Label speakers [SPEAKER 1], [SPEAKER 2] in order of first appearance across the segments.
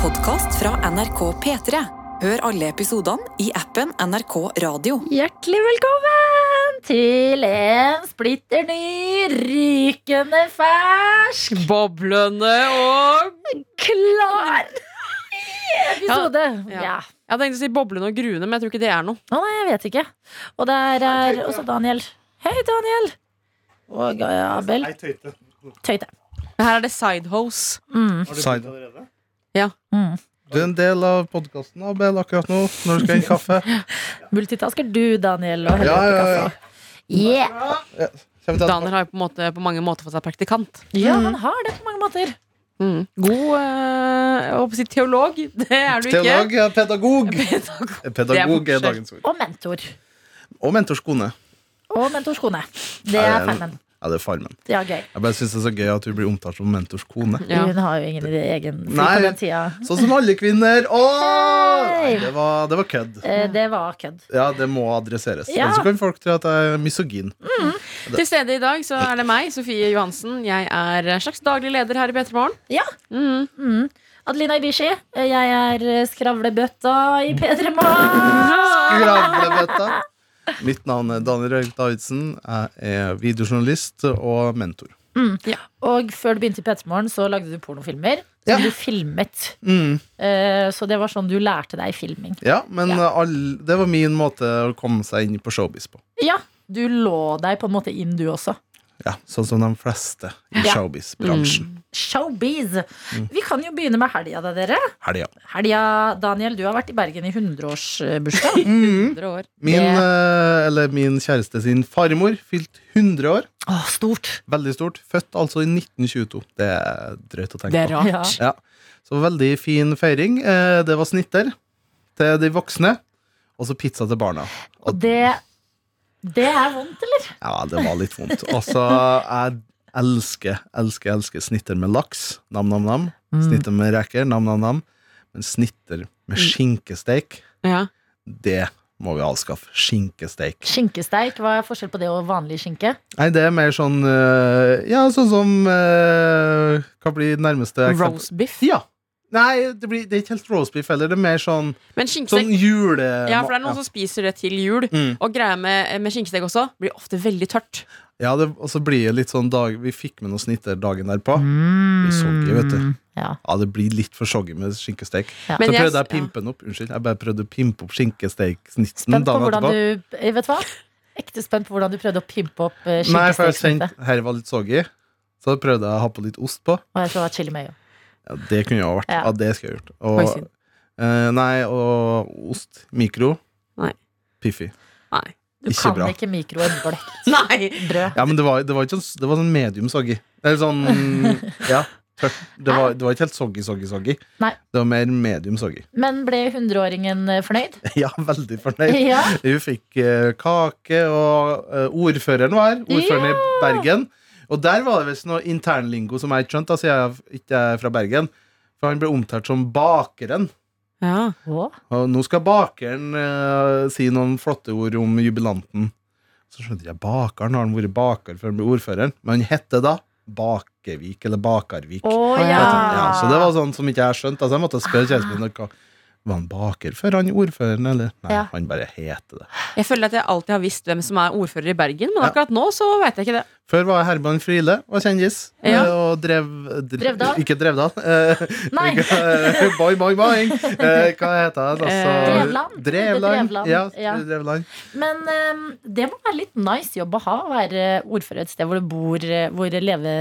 [SPEAKER 1] podkast fra NRK P3. Hør alle episodene i appen NRK Radio.
[SPEAKER 2] Hjertelig velkommen til en splitter ny, rykende fersk,
[SPEAKER 3] Boblende og
[SPEAKER 2] klar episode.
[SPEAKER 3] Ja, ja.
[SPEAKER 2] Ja.
[SPEAKER 3] Jeg tenkte å si boblende og gruende, men jeg tror ikke det er noe.
[SPEAKER 2] Å nei, jeg vet ikke. Og der er også Daniel. Hei, Daniel. Og eh, Abel.
[SPEAKER 4] Nei, tøyte.
[SPEAKER 2] Tøyte.
[SPEAKER 3] Her er det sidehose.
[SPEAKER 2] Mm.
[SPEAKER 4] Har du
[SPEAKER 5] Side.
[SPEAKER 4] begynt allerede?
[SPEAKER 2] Mm.
[SPEAKER 5] Du er en del av podkasten, Abel, akkurat nå, når du skal hente kaffe.
[SPEAKER 2] Multitasker du, Daniel, og heller
[SPEAKER 5] Ja,
[SPEAKER 2] opp i
[SPEAKER 5] ja, ja.
[SPEAKER 2] kaffe. Yeah.
[SPEAKER 5] Kjem til
[SPEAKER 3] Daniel har jo på, en måte, på mange måter fått seg praktikant.
[SPEAKER 2] Ja, han har det på mange måter.
[SPEAKER 3] Mm. God eh, jeg håper å si teolog. Det er du ikke.
[SPEAKER 5] Teolog, ja, pedagog.
[SPEAKER 3] Pedagog.
[SPEAKER 5] Pedagog
[SPEAKER 3] Det er
[SPEAKER 5] er dagens ord.
[SPEAKER 2] Og mentor.
[SPEAKER 5] Og mentorskone.
[SPEAKER 2] Og mentorskone. Det
[SPEAKER 5] Ja,
[SPEAKER 2] er
[SPEAKER 5] det er-
[SPEAKER 2] femmen.
[SPEAKER 5] Ja, det er farmen.
[SPEAKER 2] Ja, gøy.
[SPEAKER 5] Jeg bare syns det er så gøy at hun blir omtalt som mentorskone.
[SPEAKER 3] Ja.
[SPEAKER 2] Hun har jo ingen egen fri
[SPEAKER 5] Nei.
[SPEAKER 2] på den tida.
[SPEAKER 5] Sånn som alle kvinner. Åh!
[SPEAKER 2] Hei!
[SPEAKER 5] Nei, Det var, det var kødd.
[SPEAKER 2] Eh, Det var kødd.
[SPEAKER 5] Ja, det må adresseres.
[SPEAKER 2] Ja.
[SPEAKER 5] Ellers så kan folk tro at jeg er misogyn.
[SPEAKER 3] Til stede i dag så er det meg, Sofie Johansen. Jeg er en slags daglig leder her i P3 Morgen.
[SPEAKER 2] Ja.
[SPEAKER 3] Mm.
[SPEAKER 2] Mm. Adelina Ibishi, jeg er eh, skravlebøtta i P3 Morgen.
[SPEAKER 5] Skravlebøtta. Mitt navn er Daniel Røyk Davidsen. Jeg er videojournalist og mentor.
[SPEAKER 2] Og før du begynte i P3 Morgen, så lagde du pornofilmer.
[SPEAKER 5] Ja.
[SPEAKER 2] Som du filmet.
[SPEAKER 5] Mm.
[SPEAKER 2] Eh, Så det var sånn du lærte deg filming.
[SPEAKER 5] Ja, men
[SPEAKER 2] Ja.
[SPEAKER 5] eh, All, det var min måte å komme seg inn på showbiz på.
[SPEAKER 2] Ja, du lå deg på en måte inn, du også.
[SPEAKER 5] Ja, Sånn som de fleste i
[SPEAKER 2] Ja. Mm.
[SPEAKER 5] showbiz-bransjen.
[SPEAKER 2] Showbiz!
[SPEAKER 5] Mm.
[SPEAKER 2] Vi kan jo begynne med helga, da, dere.
[SPEAKER 5] Helga.
[SPEAKER 2] Helga, Daniel, du har vært i Bergen i 100-årsbursdag.
[SPEAKER 5] Mm.
[SPEAKER 3] Andre år.
[SPEAKER 5] Min,
[SPEAKER 2] Det-
[SPEAKER 5] eh, eller min kjæreste sin farmor fylte 100 år.
[SPEAKER 2] Åh, stort.
[SPEAKER 5] Veldig stort. Født altså i 1922. Det er drøyt å tenke
[SPEAKER 3] Det er rart.
[SPEAKER 2] Ja.
[SPEAKER 5] på. Ja. Så veldig fin feiring. Eh, Det var snitter til de voksne, og så pizza til barna.
[SPEAKER 2] Og det Det er vondt, eller?
[SPEAKER 5] Ja, det var litt vondt. Altså, jeg elsker, elsker, elsker snitter med laks. Nam-nam-nam. Snitter med reker. Nam-nam-nam. Men snitter med skinkesteik,
[SPEAKER 3] Ja.
[SPEAKER 5] det må vi avskaffe. Skinkesteik.
[SPEAKER 2] Skinkesteik, hva er forskjell på det og vanlig skinke?
[SPEAKER 5] Nei, det er mer sånn øh, Ja, sånn som øh, Hva blir nærmeste eksempel?
[SPEAKER 3] Roast biff.
[SPEAKER 5] Ja. Nei, det, blir, det er ikke helt roastbeef heller. Det er mer sånn,
[SPEAKER 3] Men skinkestek
[SPEAKER 5] sånn jule...
[SPEAKER 3] ja, for det er noen som spiser det til jul.
[SPEAKER 5] Mm.
[SPEAKER 3] Og greia med, med skinkestek også blir ofte veldig tørt.
[SPEAKER 5] Ja, det, og så blir det litt sånn dag, Vi fikk med noen snitter dagen derpå. Mm. Vi så ikke, vet du.
[SPEAKER 2] Ja.
[SPEAKER 5] Ja, det blir litt for soggy med skinkestek.
[SPEAKER 2] Ja.
[SPEAKER 3] Men
[SPEAKER 5] så
[SPEAKER 3] jeg-
[SPEAKER 5] prøvde jeg å pimpe den opp. Unnskyld, jeg bare prøvde å pimpe opp skinkesteksnitten
[SPEAKER 2] Spent på
[SPEAKER 5] dagen
[SPEAKER 2] hvordan
[SPEAKER 5] etterpå.
[SPEAKER 2] du eh, Vet du hva? Ekte spent på hvordan du prøvde å pimpe opp eh,
[SPEAKER 5] Nei, for jeg
[SPEAKER 2] skinkestekssnitte.
[SPEAKER 5] kjente her var litt soggy, så da prøvde jeg å ha på litt ost på.
[SPEAKER 2] Og jeg så var chili mayo.
[SPEAKER 5] Ja, det kunne jeg ha vært.
[SPEAKER 2] Ja.
[SPEAKER 5] Ja, det skulle jeg gjort.
[SPEAKER 3] Oi,
[SPEAKER 5] Og,
[SPEAKER 3] synd.
[SPEAKER 5] eh, nei, og ost. Mikro.
[SPEAKER 3] Nei.
[SPEAKER 5] Piffi.
[SPEAKER 3] Nei.
[SPEAKER 2] Du
[SPEAKER 5] Ikke
[SPEAKER 2] kan
[SPEAKER 5] bra.
[SPEAKER 2] ikke mikro en blekk
[SPEAKER 3] Nei.
[SPEAKER 2] brød.
[SPEAKER 5] Ja, men det var, det var ikke sånn, det var sånn medium soggy. Eller sånn Ja. tørt. Det var, det var ikke helt soggy, soggy, soggy.
[SPEAKER 2] Nei.
[SPEAKER 5] Det var mer medium soggy.
[SPEAKER 2] Men ble hundreåringen eh, fornøyd?
[SPEAKER 5] Ja, veldig fornøyd.
[SPEAKER 2] Ja.
[SPEAKER 5] Vi fikk eh, kake, og eh, ordføreren var her. Ordføreren i Bergen. Og der var det visst noe internlingo som jeg ikke skjønte, da sier jeg ikke er fra Bergen. For han ble omtalt som bakeren.
[SPEAKER 3] Ja.
[SPEAKER 2] Å,
[SPEAKER 5] Og nå skal bakeren eh, si noen flotte ord om jubilanten. Så skjønte jeg bakeren. Har han vært baker før han ble ordføreren? Men han hette da Bakevik, eller Bakarvik.
[SPEAKER 2] Å,
[SPEAKER 3] ja.
[SPEAKER 5] Ja, så det var sånn som ikke jeg skjønte. Altså, jeg måtte spørre kjæresten min hva var han baker før han ordføreren, eller? Nei,
[SPEAKER 2] Ah. Ja.
[SPEAKER 5] han bare heter det.
[SPEAKER 3] Jeg føler at jeg alltid har visst hvem som er ordfører i Bergen, men
[SPEAKER 5] Ja.
[SPEAKER 3] akkurat nå så vet jeg ikke det.
[SPEAKER 5] Før var jeg Herman Friele, var kjendis.
[SPEAKER 3] Ja.
[SPEAKER 5] eh, Og drev, drev
[SPEAKER 2] Drevdal?
[SPEAKER 5] Ikke Drevdal. eh,
[SPEAKER 2] Nei.
[SPEAKER 5] ikke- boing, boing, boing. Eh, Hva heter han? Altså,
[SPEAKER 3] Eh,
[SPEAKER 2] Drevland. Drevland,
[SPEAKER 5] Drevland. Ja,
[SPEAKER 2] ja.
[SPEAKER 5] Drevland.
[SPEAKER 2] Men eh, det må være litt nice jobb å ha, å være ordfører et sted hvor du bor, eh, hvor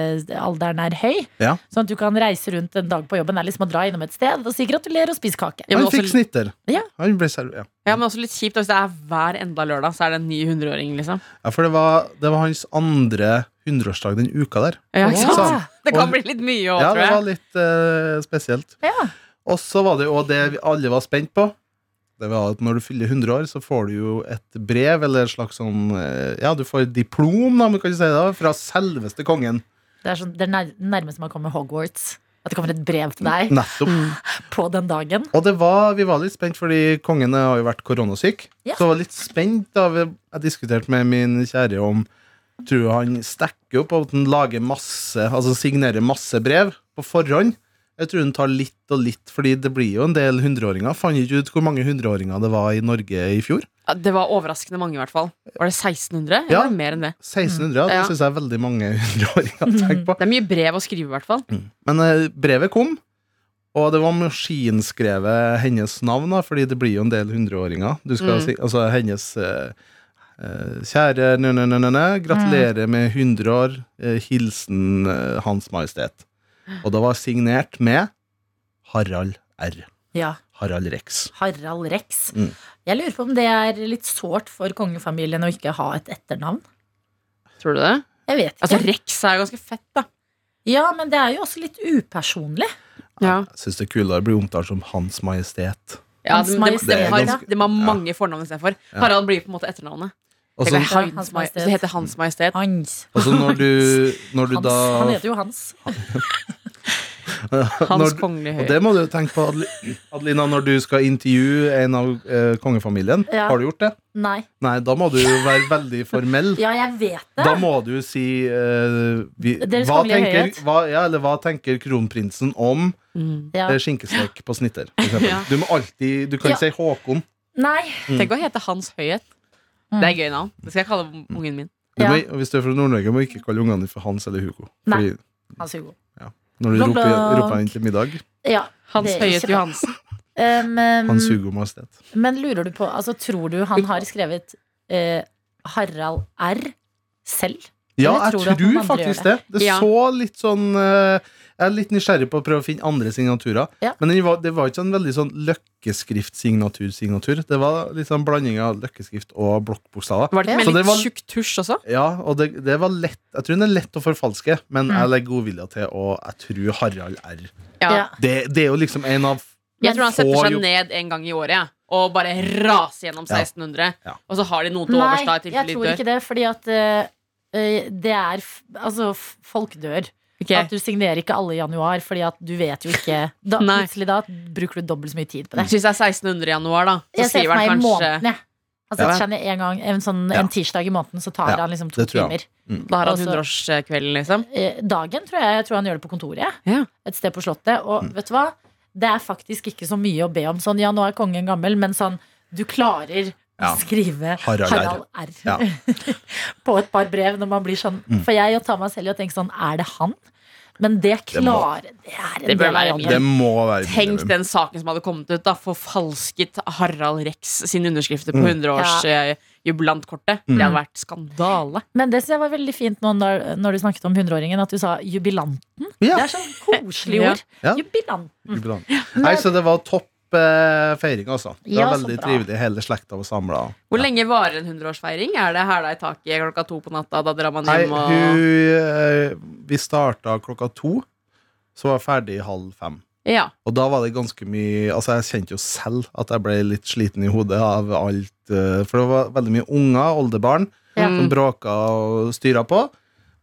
[SPEAKER 2] levealderen er høy.
[SPEAKER 5] Ja.
[SPEAKER 2] Sånn at du kan reise rundt en dag på jobben. Det er liksom å dra innom et sted og si gratulerer og spise kake.
[SPEAKER 3] Ja, men
[SPEAKER 5] Han
[SPEAKER 3] også-
[SPEAKER 5] fikk snitter.
[SPEAKER 2] Ja.
[SPEAKER 5] Han ble serv- ja.
[SPEAKER 3] Ja, men også litt kjipt da, Hvis det er hver enda lørdag, så er det en ny hundreåring. liksom
[SPEAKER 5] ja, for det var, det var hans andre hundreårsdag den uka der.
[SPEAKER 3] ja, ikke sant?
[SPEAKER 5] Så-
[SPEAKER 3] Det kan
[SPEAKER 5] Og-
[SPEAKER 3] bli litt mye òg,
[SPEAKER 5] Ja,
[SPEAKER 3] tror
[SPEAKER 5] det var
[SPEAKER 3] jeg.
[SPEAKER 5] litt eh, spesielt.
[SPEAKER 2] Ja.
[SPEAKER 5] Og så var det jo det vi alle var spent på. Det var at Når du fyller 100 år, så får du jo et brev eller et slags sånn eh, Ja, du får et diplom, da, om du kan si det, da, fra selveste kongen.
[SPEAKER 2] Det er, sånn, det er nær- nærmest man kommer Hogwarts. At det kommer et brev til deg
[SPEAKER 5] Nettopp.
[SPEAKER 3] Mm.
[SPEAKER 2] på den dagen.
[SPEAKER 5] Og det var, vi var litt spent, fordi kongen har jo vært koronasyk.
[SPEAKER 2] Ja.
[SPEAKER 5] Så jeg var litt spent da vi, jeg diskuterte med min kjære om Tror jeg han stekker opp og at han lager masse Altså signerer masse brev på forhånd. Jeg tror hun tar litt og litt, fordi det blir jo en del hundreåringer. Fant ikke ut hvor mange hundreåringer det var i Norge i fjor.
[SPEAKER 3] Ja, det var overraskende mange, i hvert fall. Var det 1600? Eller
[SPEAKER 5] Ja.
[SPEAKER 3] var det mer enn det?
[SPEAKER 5] 1600, ja.
[SPEAKER 3] Ja.
[SPEAKER 5] det syns jeg er veldig mange hundreåringer å tenke på.
[SPEAKER 3] Det er mye brev å skrive, i hvert fall.
[SPEAKER 5] Men eh, brevet kom, og det var maskinskrevet hennes navn, da, fordi det blir jo en del hundreåringer. Du skal
[SPEAKER 3] Mm.
[SPEAKER 5] si, altså hennes eh, eh, Kjære nø, nø, nø, nø, nø, gratulerer
[SPEAKER 2] Mm.
[SPEAKER 5] med 100 år. eh, hilsen eh, Hans Majestet. Og det var signert med Harald R.
[SPEAKER 2] Ja.
[SPEAKER 5] Harald Rex.
[SPEAKER 2] Harald Rex.
[SPEAKER 5] Mm.
[SPEAKER 2] Jeg lurer på om det er litt sårt for kongefamilien å ikke ha et etternavn.
[SPEAKER 3] Tror du det?
[SPEAKER 2] Jeg vet ikke.
[SPEAKER 3] Altså, Rex er jo ganske fett, da.
[SPEAKER 2] ja, men det er jo også litt upersonlig.
[SPEAKER 3] Ja.
[SPEAKER 5] Jeg syns det er kulere å bli omtalt som Hans Majestet.
[SPEAKER 3] Ja,
[SPEAKER 2] Hans
[SPEAKER 3] det, det, det,
[SPEAKER 2] Majestet,
[SPEAKER 3] har,
[SPEAKER 5] ja.
[SPEAKER 3] det har mange fornavn istedenfor.
[SPEAKER 5] Ja.
[SPEAKER 3] Harald blir på en måte etternavnet.
[SPEAKER 5] Og så-
[SPEAKER 3] Eller
[SPEAKER 2] Ja,
[SPEAKER 3] Hans,
[SPEAKER 2] Hans
[SPEAKER 3] Majestet.
[SPEAKER 2] Majestet.
[SPEAKER 3] Det heter Hans Majestet.
[SPEAKER 2] Hans.
[SPEAKER 5] og så når du, når du
[SPEAKER 2] Hans.
[SPEAKER 5] da
[SPEAKER 2] Han heter jo Hans.
[SPEAKER 3] Hans Kongelige
[SPEAKER 5] når-
[SPEAKER 3] Høyhet.
[SPEAKER 5] Og det må du tenke på, Adel- Adelina, når du skal intervjue en av eh, kongefamilien.
[SPEAKER 2] Ja.
[SPEAKER 5] Har du gjort det?
[SPEAKER 2] Nei.
[SPEAKER 5] Nei, da må du være veldig formell.
[SPEAKER 2] Ja, jeg vet det.
[SPEAKER 5] Da må du si eh, vi,
[SPEAKER 2] Deres
[SPEAKER 5] hva,
[SPEAKER 2] kongelige
[SPEAKER 5] tenker,
[SPEAKER 2] høyhet.
[SPEAKER 5] hva, ja, eller hva tenker kronprinsen om
[SPEAKER 3] Mm.
[SPEAKER 2] Ja.
[SPEAKER 5] eh, skinkestek på snitter? for eksempel?
[SPEAKER 3] Ja.
[SPEAKER 5] Du må alltid Du kan
[SPEAKER 2] Ja.
[SPEAKER 5] ikke si Håkon.
[SPEAKER 2] Nei.
[SPEAKER 3] Tenk å hete Hans Høyhet.
[SPEAKER 2] Mm.
[SPEAKER 3] Det er gøy navn. Det skal jeg kalle ungen min.
[SPEAKER 5] Du
[SPEAKER 2] Ja.
[SPEAKER 5] må, og hvis du er fra Nord-Norge, må du ikke kalle ungene dine for Hans eller Hugo.
[SPEAKER 2] Nei.
[SPEAKER 5] Fordi
[SPEAKER 2] Hans Hugo.
[SPEAKER 5] når du
[SPEAKER 2] Blå, blå.
[SPEAKER 5] roper, roper inn til middag
[SPEAKER 2] Ja.
[SPEAKER 3] Hans
[SPEAKER 2] det er
[SPEAKER 3] Høyhet
[SPEAKER 2] ikke bra.
[SPEAKER 3] Johansen.
[SPEAKER 2] Um, um,
[SPEAKER 5] Hans Hugo Majestet.
[SPEAKER 2] men lurer du på Altså, tror du han har skrevet eh, Harald R selv?
[SPEAKER 5] Ja,
[SPEAKER 2] Eller
[SPEAKER 5] jeg
[SPEAKER 2] tror du
[SPEAKER 5] tror,
[SPEAKER 2] at noen andre
[SPEAKER 5] faktisk det.
[SPEAKER 2] gjør
[SPEAKER 5] Det
[SPEAKER 3] Ja.
[SPEAKER 5] så litt sånn eh, Jeg er litt nysgjerrig på å prøve å finne andre signaturer.
[SPEAKER 2] Ja.
[SPEAKER 5] Men den var, det var ikke sånn veldig sånn løkkeskriftsignatur-signatur. Det var litt sånn blanding av løkkeskrift og blokkbokstaver.
[SPEAKER 3] Var det ikke
[SPEAKER 5] Så
[SPEAKER 3] med litt
[SPEAKER 5] det var-
[SPEAKER 3] tjukk tusj også?
[SPEAKER 5] Ja, og det, det var lett Jeg tror den er lett å forfalske, men
[SPEAKER 2] Mm.
[SPEAKER 5] jeg legger godvilja til, og jeg tror Harald R.
[SPEAKER 3] Ja.
[SPEAKER 2] Ja.
[SPEAKER 5] Det, det er jo liksom en av
[SPEAKER 3] Jeg tror han
[SPEAKER 5] Får
[SPEAKER 3] setter seg
[SPEAKER 5] jo-
[SPEAKER 3] ned en gang i året ja. og bare raser gjennom
[SPEAKER 5] Ja.
[SPEAKER 3] 1600.
[SPEAKER 5] Ja.
[SPEAKER 3] Og så har de noe til
[SPEAKER 2] Nei,
[SPEAKER 3] overs da i tilfelle
[SPEAKER 2] jeg
[SPEAKER 3] de
[SPEAKER 2] tror
[SPEAKER 3] dør.
[SPEAKER 2] ikke det, fordi at eh, eh, det er f- Altså, f- folk dør.
[SPEAKER 3] Ok.
[SPEAKER 2] At du signerer ikke alle i januar, fordi at du vet jo ikke da,
[SPEAKER 3] Nei.
[SPEAKER 2] Plutselig da bruker du dobbelt så mye tid på det.
[SPEAKER 5] Mm.
[SPEAKER 3] Hvis det er 1600 i januar, da, så
[SPEAKER 2] Jeg ser
[SPEAKER 3] skriver
[SPEAKER 2] for meg i
[SPEAKER 3] han kanskje
[SPEAKER 2] måneden, jeg. Han
[SPEAKER 5] Ja.
[SPEAKER 2] setter seg ned en gang en, sånn,
[SPEAKER 5] Ja.
[SPEAKER 2] en tirsdag i måneden, så tar
[SPEAKER 5] Ja,
[SPEAKER 2] han liksom to
[SPEAKER 5] det tror jeg.
[SPEAKER 2] timer.
[SPEAKER 3] Da har han
[SPEAKER 2] Altså-
[SPEAKER 3] 100-årskvelden, liksom.
[SPEAKER 2] Eh, Dagen tror jeg jeg tror han gjør det på kontoret.
[SPEAKER 3] Ja.
[SPEAKER 2] Et sted på Slottet. Og
[SPEAKER 5] Mm.
[SPEAKER 2] vet du hva? Det er faktisk ikke så mye å be om. Sånn, ja, nå er kongen gammel, men sånn Du klarer å
[SPEAKER 5] Ja.
[SPEAKER 2] skrive
[SPEAKER 5] Harald R.
[SPEAKER 2] Harald R.
[SPEAKER 5] Ja. Mm.
[SPEAKER 2] på et par brev når man blir sånn. For jeg tar meg selv i å tenke sånn Er det han? Men det
[SPEAKER 5] Det må-
[SPEAKER 2] klarer Det er
[SPEAKER 3] Det
[SPEAKER 2] en
[SPEAKER 3] bør
[SPEAKER 2] del av
[SPEAKER 3] være
[SPEAKER 2] jobben.
[SPEAKER 5] Det må være
[SPEAKER 3] Tenk
[SPEAKER 5] minimum.
[SPEAKER 3] den saken som hadde kommet ut, da. Forfalsket Harald Rex sine underskrifter på
[SPEAKER 5] Mm.
[SPEAKER 3] 100-årsjubilantkortet. Det hadde vært skandale.
[SPEAKER 2] Men det synes jeg var veldig fint nå når, når du snakket om hundreåringen, at du sa jubilant. Det
[SPEAKER 5] Ja.
[SPEAKER 2] er sånn koselig
[SPEAKER 3] Ja.
[SPEAKER 2] ord.
[SPEAKER 5] Ja.
[SPEAKER 2] Jubilant.
[SPEAKER 5] Iblant. Nei, så det var topp eh, feiring, altså. Det var
[SPEAKER 2] Ja, så
[SPEAKER 5] veldig
[SPEAKER 2] bra.
[SPEAKER 5] trivelig. Hele slekta var samla.
[SPEAKER 3] Hvor lenge varer en 100-årsfeiring? Er det hæla i taket klokka to på natta? Da drar man
[SPEAKER 5] Nei,
[SPEAKER 3] hjem og
[SPEAKER 5] hun, eh, vi starta klokka to, så var jeg ferdig halv fem.
[SPEAKER 3] Ja.
[SPEAKER 5] Og da var det ganske mye Altså, jeg kjente jo selv at jeg ble litt sliten i hodet av alt. eh, For det var veldig mye unger, oldebarn,
[SPEAKER 2] Ja.
[SPEAKER 3] Mm.
[SPEAKER 5] som bråka og styra på.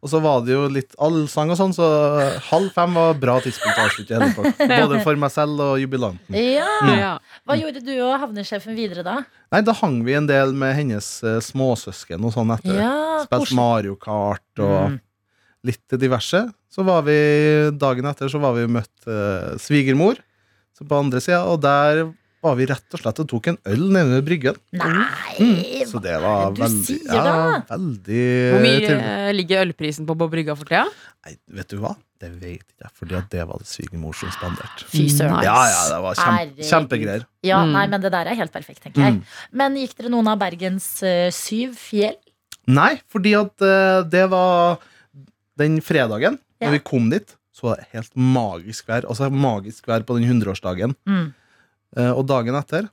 [SPEAKER 5] Og så var det jo litt allsang og sånn, så halv fem var bra tidspunkt å avslutte hele pakka. Både for meg selv og jubilanten.
[SPEAKER 2] Ja.
[SPEAKER 5] Mm.
[SPEAKER 3] ja.
[SPEAKER 2] Hva gjorde du og havnesjefen videre da?
[SPEAKER 5] Nei, da hang vi en del med hennes eh, småsøsken og sånn etter.
[SPEAKER 2] Ja,
[SPEAKER 5] Spilt
[SPEAKER 2] koselig.
[SPEAKER 5] Mario Kart og
[SPEAKER 2] Mm.
[SPEAKER 5] litt diverse. Så var vi Dagen etter så var vi og møtt eh, svigermor så på andre sida, og der var vi rett og slett og tok en øl nede ved bryggen.
[SPEAKER 2] Nei!
[SPEAKER 5] Mm. Så det var
[SPEAKER 2] du
[SPEAKER 5] veldig,
[SPEAKER 2] sier
[SPEAKER 5] ja,
[SPEAKER 2] da?
[SPEAKER 5] veldig
[SPEAKER 3] Hvor mye
[SPEAKER 5] trivelig.
[SPEAKER 3] eh, ligger ølprisen på på brygga for tida?
[SPEAKER 5] Nei, vet du hva? Det vet ikke jeg, fordi at det var det svigermor som spanderte.
[SPEAKER 2] Fy søren.
[SPEAKER 5] Ja, ja, det var kjempe,
[SPEAKER 2] Herregud.
[SPEAKER 5] kjempegreier.
[SPEAKER 2] Ja,
[SPEAKER 3] Mm.
[SPEAKER 2] nei, men det der er helt perfekt, tenker jeg.
[SPEAKER 5] Mm.
[SPEAKER 2] Men gikk dere noen av Bergens eh, syv fjell?
[SPEAKER 5] Nei, fordi at eh, det var den fredagen
[SPEAKER 2] Ja.
[SPEAKER 5] når vi kom dit, så var det helt magisk vær. Altså magisk vær på den hundreårsdagen.
[SPEAKER 2] Mm.
[SPEAKER 5] Eh, Og dagen etter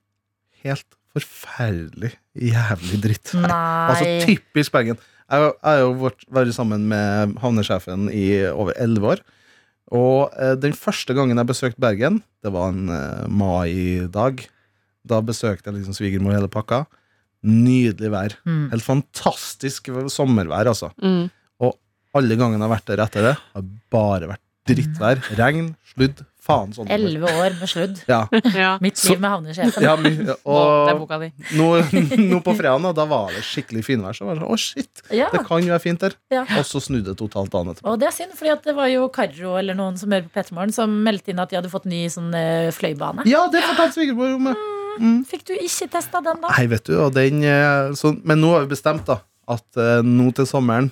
[SPEAKER 5] Helt forferdelig jævlig dritt.
[SPEAKER 2] Nei.
[SPEAKER 5] Altså typisk Bergen. Jeg har- jeg har jo vært, vært sammen med havnesjefen i over elleve år. Og eh, den første gangen jeg besøkte Bergen, det var en eh, mai-dag. Da besøkte jeg liksom svigermor og hele pakka. Nydelig vær.
[SPEAKER 2] Mm.
[SPEAKER 5] Helt fantastisk sommervær, altså.
[SPEAKER 3] Mm.
[SPEAKER 5] Alle gangene jeg har vært der etter det, har bare vært Drittvær, regn, sludd, faen sånn.
[SPEAKER 2] Elleve år med sludd.
[SPEAKER 5] Ja,
[SPEAKER 3] Ja.
[SPEAKER 2] Mitt
[SPEAKER 5] Så-
[SPEAKER 2] liv med havnesjefen.
[SPEAKER 5] ja, my-
[SPEAKER 3] Å, det er
[SPEAKER 5] og
[SPEAKER 3] boka di.
[SPEAKER 5] nå, nå på fredagen, da var det skikkelig finvær. Så var det sånn, å shit,
[SPEAKER 2] Ja.
[SPEAKER 5] det kan jo være fint der.
[SPEAKER 2] Ja.
[SPEAKER 5] Og så snudde det totalt dagen etterpå.
[SPEAKER 2] Og det er synd, fordi at det var jo Karro eller noen som hører på Petermorgen, som meldte inn at de hadde fått ny sånn eh, fløybane.
[SPEAKER 5] Ja, det fortalte svigermor om. ja.
[SPEAKER 2] Fikk du ikke testa den, da?
[SPEAKER 5] Nei, vet du, og den eh, så, Men nå har vi bestemt da at eh, nå til sommeren,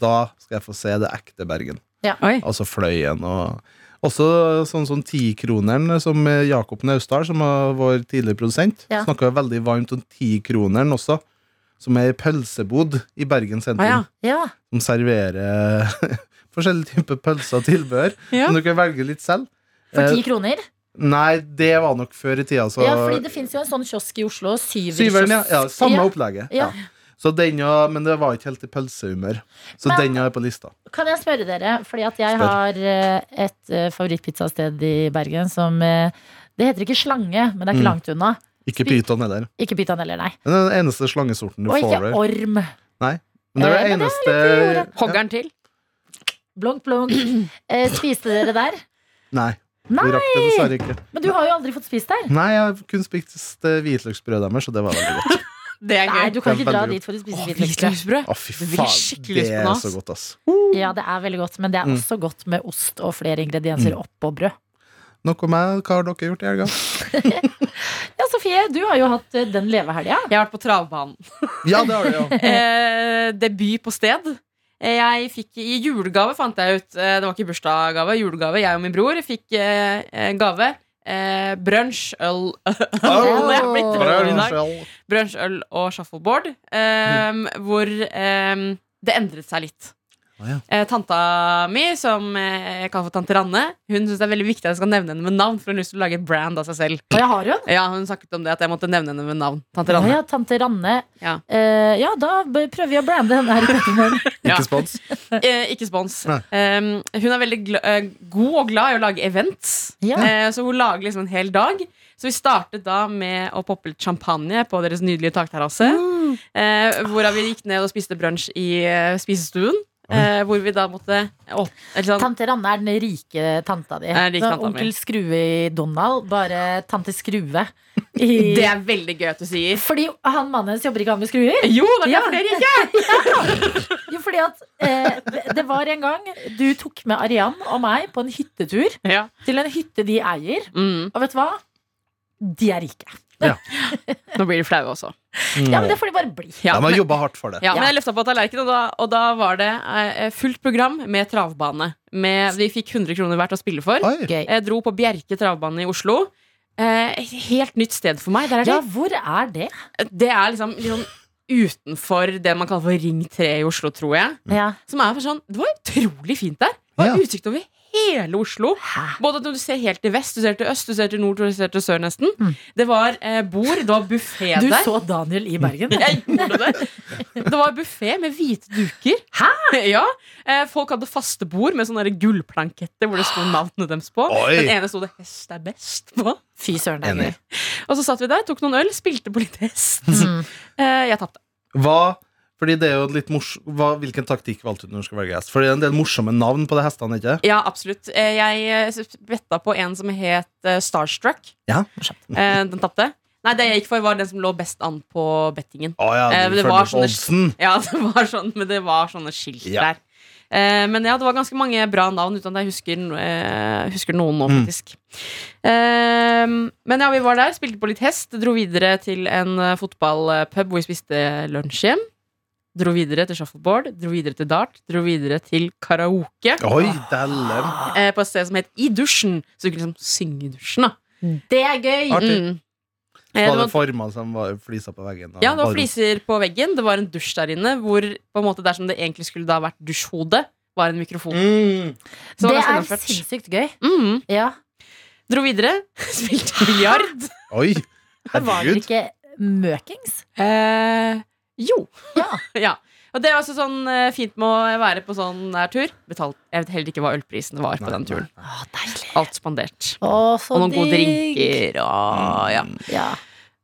[SPEAKER 5] da skal jeg få se det ekte Bergen.
[SPEAKER 3] Oi.
[SPEAKER 5] Altså Fløyen og også sånn som tikroneren som eh, Jakob Naustdal, som var vår tidligere produsent,
[SPEAKER 2] Ja.
[SPEAKER 5] snakka veldig varmt om tikroneren også, som er ei pølsebod i Bergen sentrum.
[SPEAKER 3] Å, ja.
[SPEAKER 2] Ja.
[SPEAKER 5] Som serverer eh, forskjellige typer pølser og tilbehør,
[SPEAKER 3] Ja.
[SPEAKER 5] som du kan velge litt selv.
[SPEAKER 2] For
[SPEAKER 5] Eh,
[SPEAKER 2] ti kroner?
[SPEAKER 5] Nei, det var nok før i tida, så
[SPEAKER 2] Ja, fordi det fins jo en sånn kiosk i Oslo.
[SPEAKER 5] Syveren, ja.
[SPEAKER 2] Syverkiosk.
[SPEAKER 5] ja samme opplegget.
[SPEAKER 2] Ja.
[SPEAKER 5] Ja. Så den, ja, men det var ikke helt i pølsehumør. Så
[SPEAKER 2] Men-
[SPEAKER 5] den er på lista.
[SPEAKER 2] Kan jeg spørre dere, fordi at jeg
[SPEAKER 5] Spør.
[SPEAKER 2] har eh, et eh, favorittpizzasted i Bergen som eh, Det heter ikke Slange, men det er ikke
[SPEAKER 5] Mm.
[SPEAKER 2] langt unna.
[SPEAKER 5] Ikke
[SPEAKER 2] Spi-
[SPEAKER 5] pyton heller.
[SPEAKER 2] Ikke Pyton heller, nei.
[SPEAKER 5] Det er den eneste slangesorten du
[SPEAKER 2] Og
[SPEAKER 5] får.
[SPEAKER 2] ikke
[SPEAKER 5] her.
[SPEAKER 2] Orm. Eh,
[SPEAKER 5] Men det er det
[SPEAKER 2] men det
[SPEAKER 5] eneste
[SPEAKER 3] Hoggeren til.
[SPEAKER 2] Blunk, blunk. Eh, spiste dere der?
[SPEAKER 5] Nei.
[SPEAKER 2] Nei!
[SPEAKER 5] Vi rakk det dessverre ikke.
[SPEAKER 2] Men du har jo aldri fått spist der.
[SPEAKER 5] Nei, jeg har kun spist eh, hvitløksbrød deres, og det var veldig godt.
[SPEAKER 3] Det er
[SPEAKER 2] Nei,
[SPEAKER 3] gøy.
[SPEAKER 2] du kan
[SPEAKER 5] Det er
[SPEAKER 2] ikke dra
[SPEAKER 5] veldig
[SPEAKER 2] dit for å spise
[SPEAKER 3] Å,
[SPEAKER 2] hvitløksbrød.
[SPEAKER 5] Å, fy
[SPEAKER 3] Det blir
[SPEAKER 5] faen.
[SPEAKER 3] skikkelig
[SPEAKER 5] Det er
[SPEAKER 3] spennende.
[SPEAKER 5] så godt, ass.
[SPEAKER 2] Ja, det er veldig godt, men det er
[SPEAKER 5] Mm.
[SPEAKER 2] også godt med ost og flere ingredienser oppå brød.
[SPEAKER 5] Nok om meg. Hva har dere gjort i helga?
[SPEAKER 2] Ja, Sofie, du har jo hatt eh, den levehelga.
[SPEAKER 3] Jeg har vært på travbanen.
[SPEAKER 5] Ja, det har du, ja.
[SPEAKER 3] eh, debut på sted. Eh, Jeg fikk I julegave fant jeg ut eh, Det var ikke bursdagsgave, julegave. Jeg og min bror fikk eh, eh, gave. Eh, Brunsj, øl
[SPEAKER 5] Au,
[SPEAKER 3] Jeg har blitt
[SPEAKER 5] brød,
[SPEAKER 3] dårlig i dag.
[SPEAKER 5] skjell.
[SPEAKER 3] Brunsj, øl og shuffleboard. eh, Hvor eh, det endret seg litt.
[SPEAKER 5] Å, ja.
[SPEAKER 3] Eh, Tanta mi, som eh, jeg kaller for tante Ranne, Hun synes det er veldig viktig at jeg skal nevne henne med navn. For hun har lyst til å lage et brand av seg selv.
[SPEAKER 2] Og jeg har jo en.
[SPEAKER 3] Ja, Hun snakket om det at jeg måtte nevne henne med navn. Tante
[SPEAKER 2] Å
[SPEAKER 3] Ranne
[SPEAKER 2] ja, tante Ranne.
[SPEAKER 3] Ja.
[SPEAKER 2] Eh, ja, da b- prøver vi å blande henne her i Petermorgen.
[SPEAKER 3] Ja.
[SPEAKER 5] Ikke spons.
[SPEAKER 3] Eh, ikke spons.
[SPEAKER 5] Nei.
[SPEAKER 3] Um, hun er veldig gla eh, god og glad i å lage events,
[SPEAKER 2] Ja.
[SPEAKER 3] Eh, så hun lager liksom en hel dag. Så vi startet da med å poppe litt champagne på deres nydelige takterrasse.
[SPEAKER 2] Mm.
[SPEAKER 3] Eh, hvorav vi gikk ned og spiste brunsj i eh, spisestuen. Eh, hvor vi da måtte opp, eller sånn,
[SPEAKER 2] Tante Ranne er den rike tanta di.
[SPEAKER 3] Ja, den rike
[SPEAKER 2] Så
[SPEAKER 3] tanta mi.
[SPEAKER 2] Onkel Skrue i Donald, bare tante Skrue. I...
[SPEAKER 3] Det er veldig gøy at du sier.
[SPEAKER 2] Fordi han mannen hennes jobber ikke han med skruer.
[SPEAKER 3] Jo, det er
[SPEAKER 2] Ja.
[SPEAKER 3] derfor dere ikke
[SPEAKER 2] Jo, fordi at eh, det- Det var en gang du tok med Arian og meg på en hyttetur
[SPEAKER 3] ja.
[SPEAKER 2] til en hytte de eier.
[SPEAKER 3] mm.
[SPEAKER 2] Og vet du hva? De er rike.
[SPEAKER 3] Nå blir de flaue også.
[SPEAKER 2] Ja, men Det får de bare bli.
[SPEAKER 3] Ja,
[SPEAKER 5] De har jobba hardt for det.
[SPEAKER 3] Ja, men
[SPEAKER 2] Ja.
[SPEAKER 3] jeg løfta på tallerkenen, og da, og da var det eh, fullt program med travbane. Med, vi fikk 100 kroner hvert å spille for.
[SPEAKER 5] Oi.
[SPEAKER 2] Gøy.
[SPEAKER 3] Jeg dro på Bjerke travbane i Oslo. Eh, et helt nytt sted for meg. Der er
[SPEAKER 2] Ja,
[SPEAKER 3] det,
[SPEAKER 2] hvor er det?
[SPEAKER 3] det er liksom, liksom utenfor det man kaller for Ring 3 i Oslo, tror jeg.
[SPEAKER 2] Ja.
[SPEAKER 3] Som er for sånn, Det var utrolig fint der. Det var
[SPEAKER 5] Ja.
[SPEAKER 3] utsikt over hele Oslo.
[SPEAKER 2] Hæ?
[SPEAKER 3] Både at Du ser helt til vest, du ser til øst, du ser til nord, du ser til sør, nesten.
[SPEAKER 2] Mm.
[SPEAKER 3] Det var eh, bord, det var buffé
[SPEAKER 2] Du
[SPEAKER 3] der.
[SPEAKER 2] så Daniel i Bergen.
[SPEAKER 3] Jeg gjorde det. Det var buffé med hvite duker. Ja, eh, Folk hadde faste bord med sånne der gullplanketter hvor det sto navnene deres på.
[SPEAKER 5] Oi.
[SPEAKER 3] Den ene sto det 'Hest er best' på.
[SPEAKER 2] Fy søren, det er
[SPEAKER 5] Enig.
[SPEAKER 2] gøy.
[SPEAKER 3] Og så satt vi der, tok noen øl, spilte på litt hest.
[SPEAKER 2] Mm.
[SPEAKER 3] Eh, jeg tapte.
[SPEAKER 5] Hva fordi det er jo litt mors hva, Hvilken taktikk valgte du når du skal velge hest? For det er en del morsomme navn på de hestene, ikke
[SPEAKER 3] Ja, absolutt. Eh, jeg eh, betta på en som het eh, Starstruck.
[SPEAKER 5] Ja.
[SPEAKER 3] Eh, den tapte. Nei, det jeg gikk for, var den som lå best an på bettingen.
[SPEAKER 5] Å ja,
[SPEAKER 3] Eh,
[SPEAKER 5] du
[SPEAKER 3] det
[SPEAKER 5] følger
[SPEAKER 3] var
[SPEAKER 5] på
[SPEAKER 3] sånne-
[SPEAKER 5] oddsen.
[SPEAKER 3] Ja, det var sånn, men det var sånne skilt
[SPEAKER 5] Ja.
[SPEAKER 3] der. Eh, men ja, det var ganske mange bra navn, uten at jeg husker, eh, husker noen nå,
[SPEAKER 5] Mm.
[SPEAKER 3] faktisk. Eh, men ja, vi var der, spilte på litt hest, dro videre til en eh, fotballpub hvor vi spiste lunsj hjem. Dro videre til shuffleboard, dro videre til dart, dro videre til karaoke.
[SPEAKER 5] Oi, dælen.
[SPEAKER 3] Eh, på et sted som het I dusjen. Så du kunne liksom synge i dusjen, da.
[SPEAKER 5] Mm.
[SPEAKER 2] Det er gøy!
[SPEAKER 5] Artig.
[SPEAKER 3] Mm. Eh,
[SPEAKER 5] Var
[SPEAKER 3] det
[SPEAKER 5] det
[SPEAKER 3] var,
[SPEAKER 5] forma som var flisa på veggen? og
[SPEAKER 3] ja, det var
[SPEAKER 5] bare-
[SPEAKER 3] fliser på veggen, det var en dusj der inne, hvor på en måte dersom det egentlig skulle da vært dusjhode, var en mikrofon.
[SPEAKER 5] Mm.
[SPEAKER 2] det
[SPEAKER 3] Så det var ganske
[SPEAKER 2] er
[SPEAKER 3] gjennomført.
[SPEAKER 2] sinnssykt gøy.
[SPEAKER 3] Mm.
[SPEAKER 2] Ja.
[SPEAKER 3] Dro videre, spilte biljard.
[SPEAKER 5] Oi,
[SPEAKER 2] Her var det
[SPEAKER 5] herregud.
[SPEAKER 2] ikke møkings.
[SPEAKER 3] Eh, jo.
[SPEAKER 2] Ja.
[SPEAKER 3] ja. Og det er også sånn eh, fint med å være på sånn her tur. Betalt. Jeg vet heller ikke hva ølprisen var på
[SPEAKER 5] Nei,
[SPEAKER 3] den turen.
[SPEAKER 5] nei.
[SPEAKER 2] Å, deilig.
[SPEAKER 3] Alt spandert.
[SPEAKER 2] Å, så
[SPEAKER 3] Og noen gode
[SPEAKER 2] digg.
[SPEAKER 3] drinker og
[SPEAKER 5] Mm.
[SPEAKER 3] ja.
[SPEAKER 2] Ja.